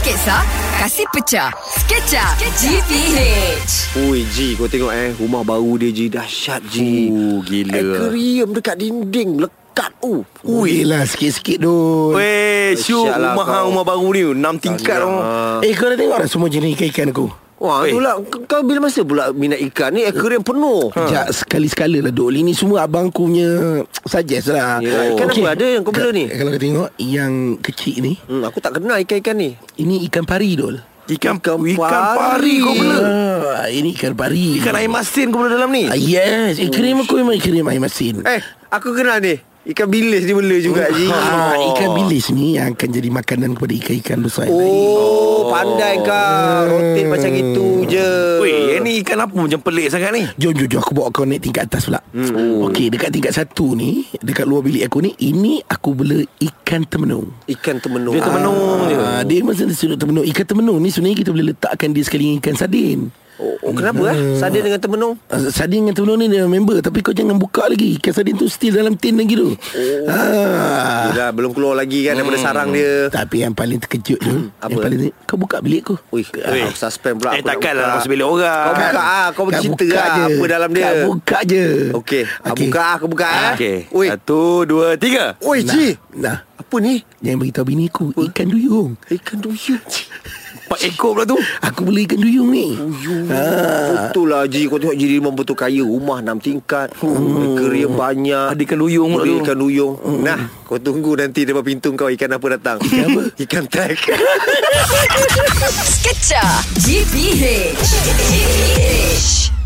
Kisah Kasih Pecah Sketcha GPH Ui Ji kau tengok eh Rumah baru dia Ji Dahsyat Ji Oh, gila. Aquarium dekat dinding Lekat oh Ui lah sikit-sikit dun Weh, syuk Dahsyat lah rumah kau. hang rumah baru ni 6 tingkat Tahniah. orang. Eh kau dah tengok dah semua jenis ikan-ikan aku Wah Weh. itulah K- Kau bila masa pula minat ikan Hmm. ni Aquarium Ha. penuh Sekejap sekali-sekala lah Dol Ini semua abang aku punya Suggest lah Oh. Yelah, ikan Okey. apa Ya, ada yang kau bela ni? Kalau kau tengok Yang kecil ni Hmm, aku tak kenal ikan-ikan ni Ini ikan pari Dol Ikan Ikan ikan, ikan pari. pari kau bela. Ah, Ini ikan pari Ikan air masin kau bela dalam ni. ah, Yes Ikrim aku memang ikrim air masin Eh aku kenal ni Ikan bilis dia bela Hmm. juga Ji Ha. Ah, Ikan bilis ni Yang akan jadi makanan Kepada ikan-ikan besar yang lain. Oh pandai Hmm. kau Rotate macam itu je Weh, yang ni ikan apa macam pelik sangat ni? Jom jom jom aku bawa kau naik tingkat atas pula. Hmm. Okey, dekat tingkat satu ni, dekat luar bilik aku ni, ini aku bela ikan temenung. Ikan temenung Dia temenung. je. Ah, dia masa dia sudut temenung. Ikan temenung ni sebenarnya kita boleh letakkan dia sekali dengan ikan sardin. Oh, oh, kenapa eh? Hmm. Sadin dengan temenung Ah, Sardin dengan temenung ni dia member Tapi kau jangan buka lagi Ikan sardin tu still dalam tin lagi tu Oh. ah. Yelah belum keluar lagi kan Hmm. Daripada sarang dia Tapi yang paling terkejut tu Apa? Yang paling terkejut, Kau buka bilik kau Ui, Weh. aku suspend pula aku nak Eh, buka. takkanlah masuk bilik orang. Kau Kan? Kan? buka ah, kau bercerita lah apa dalam dia. Kau buka je Okey, okay. buka ah, aku buka ah. Okey. Oi. Satu, dua, tiga. Oi, Nah, Ji. nah. Apa ni? Jangan beritahu bini aku Ikan duyung Ikan duyung. Empat ekor pula tu. Aku beli ikan duyung ni Ha. Duyung. Betul lah Ji Kau tengok Ji memang betul kaya Rumah 6 tingkat Kerja banyak Ada ikan duyung pula Ada tu. ikan duyung Nah Kau tunggu nanti Depan pintu kau Ikan apa datang Ikan apa? Ikan tek Sketcha GPH GPH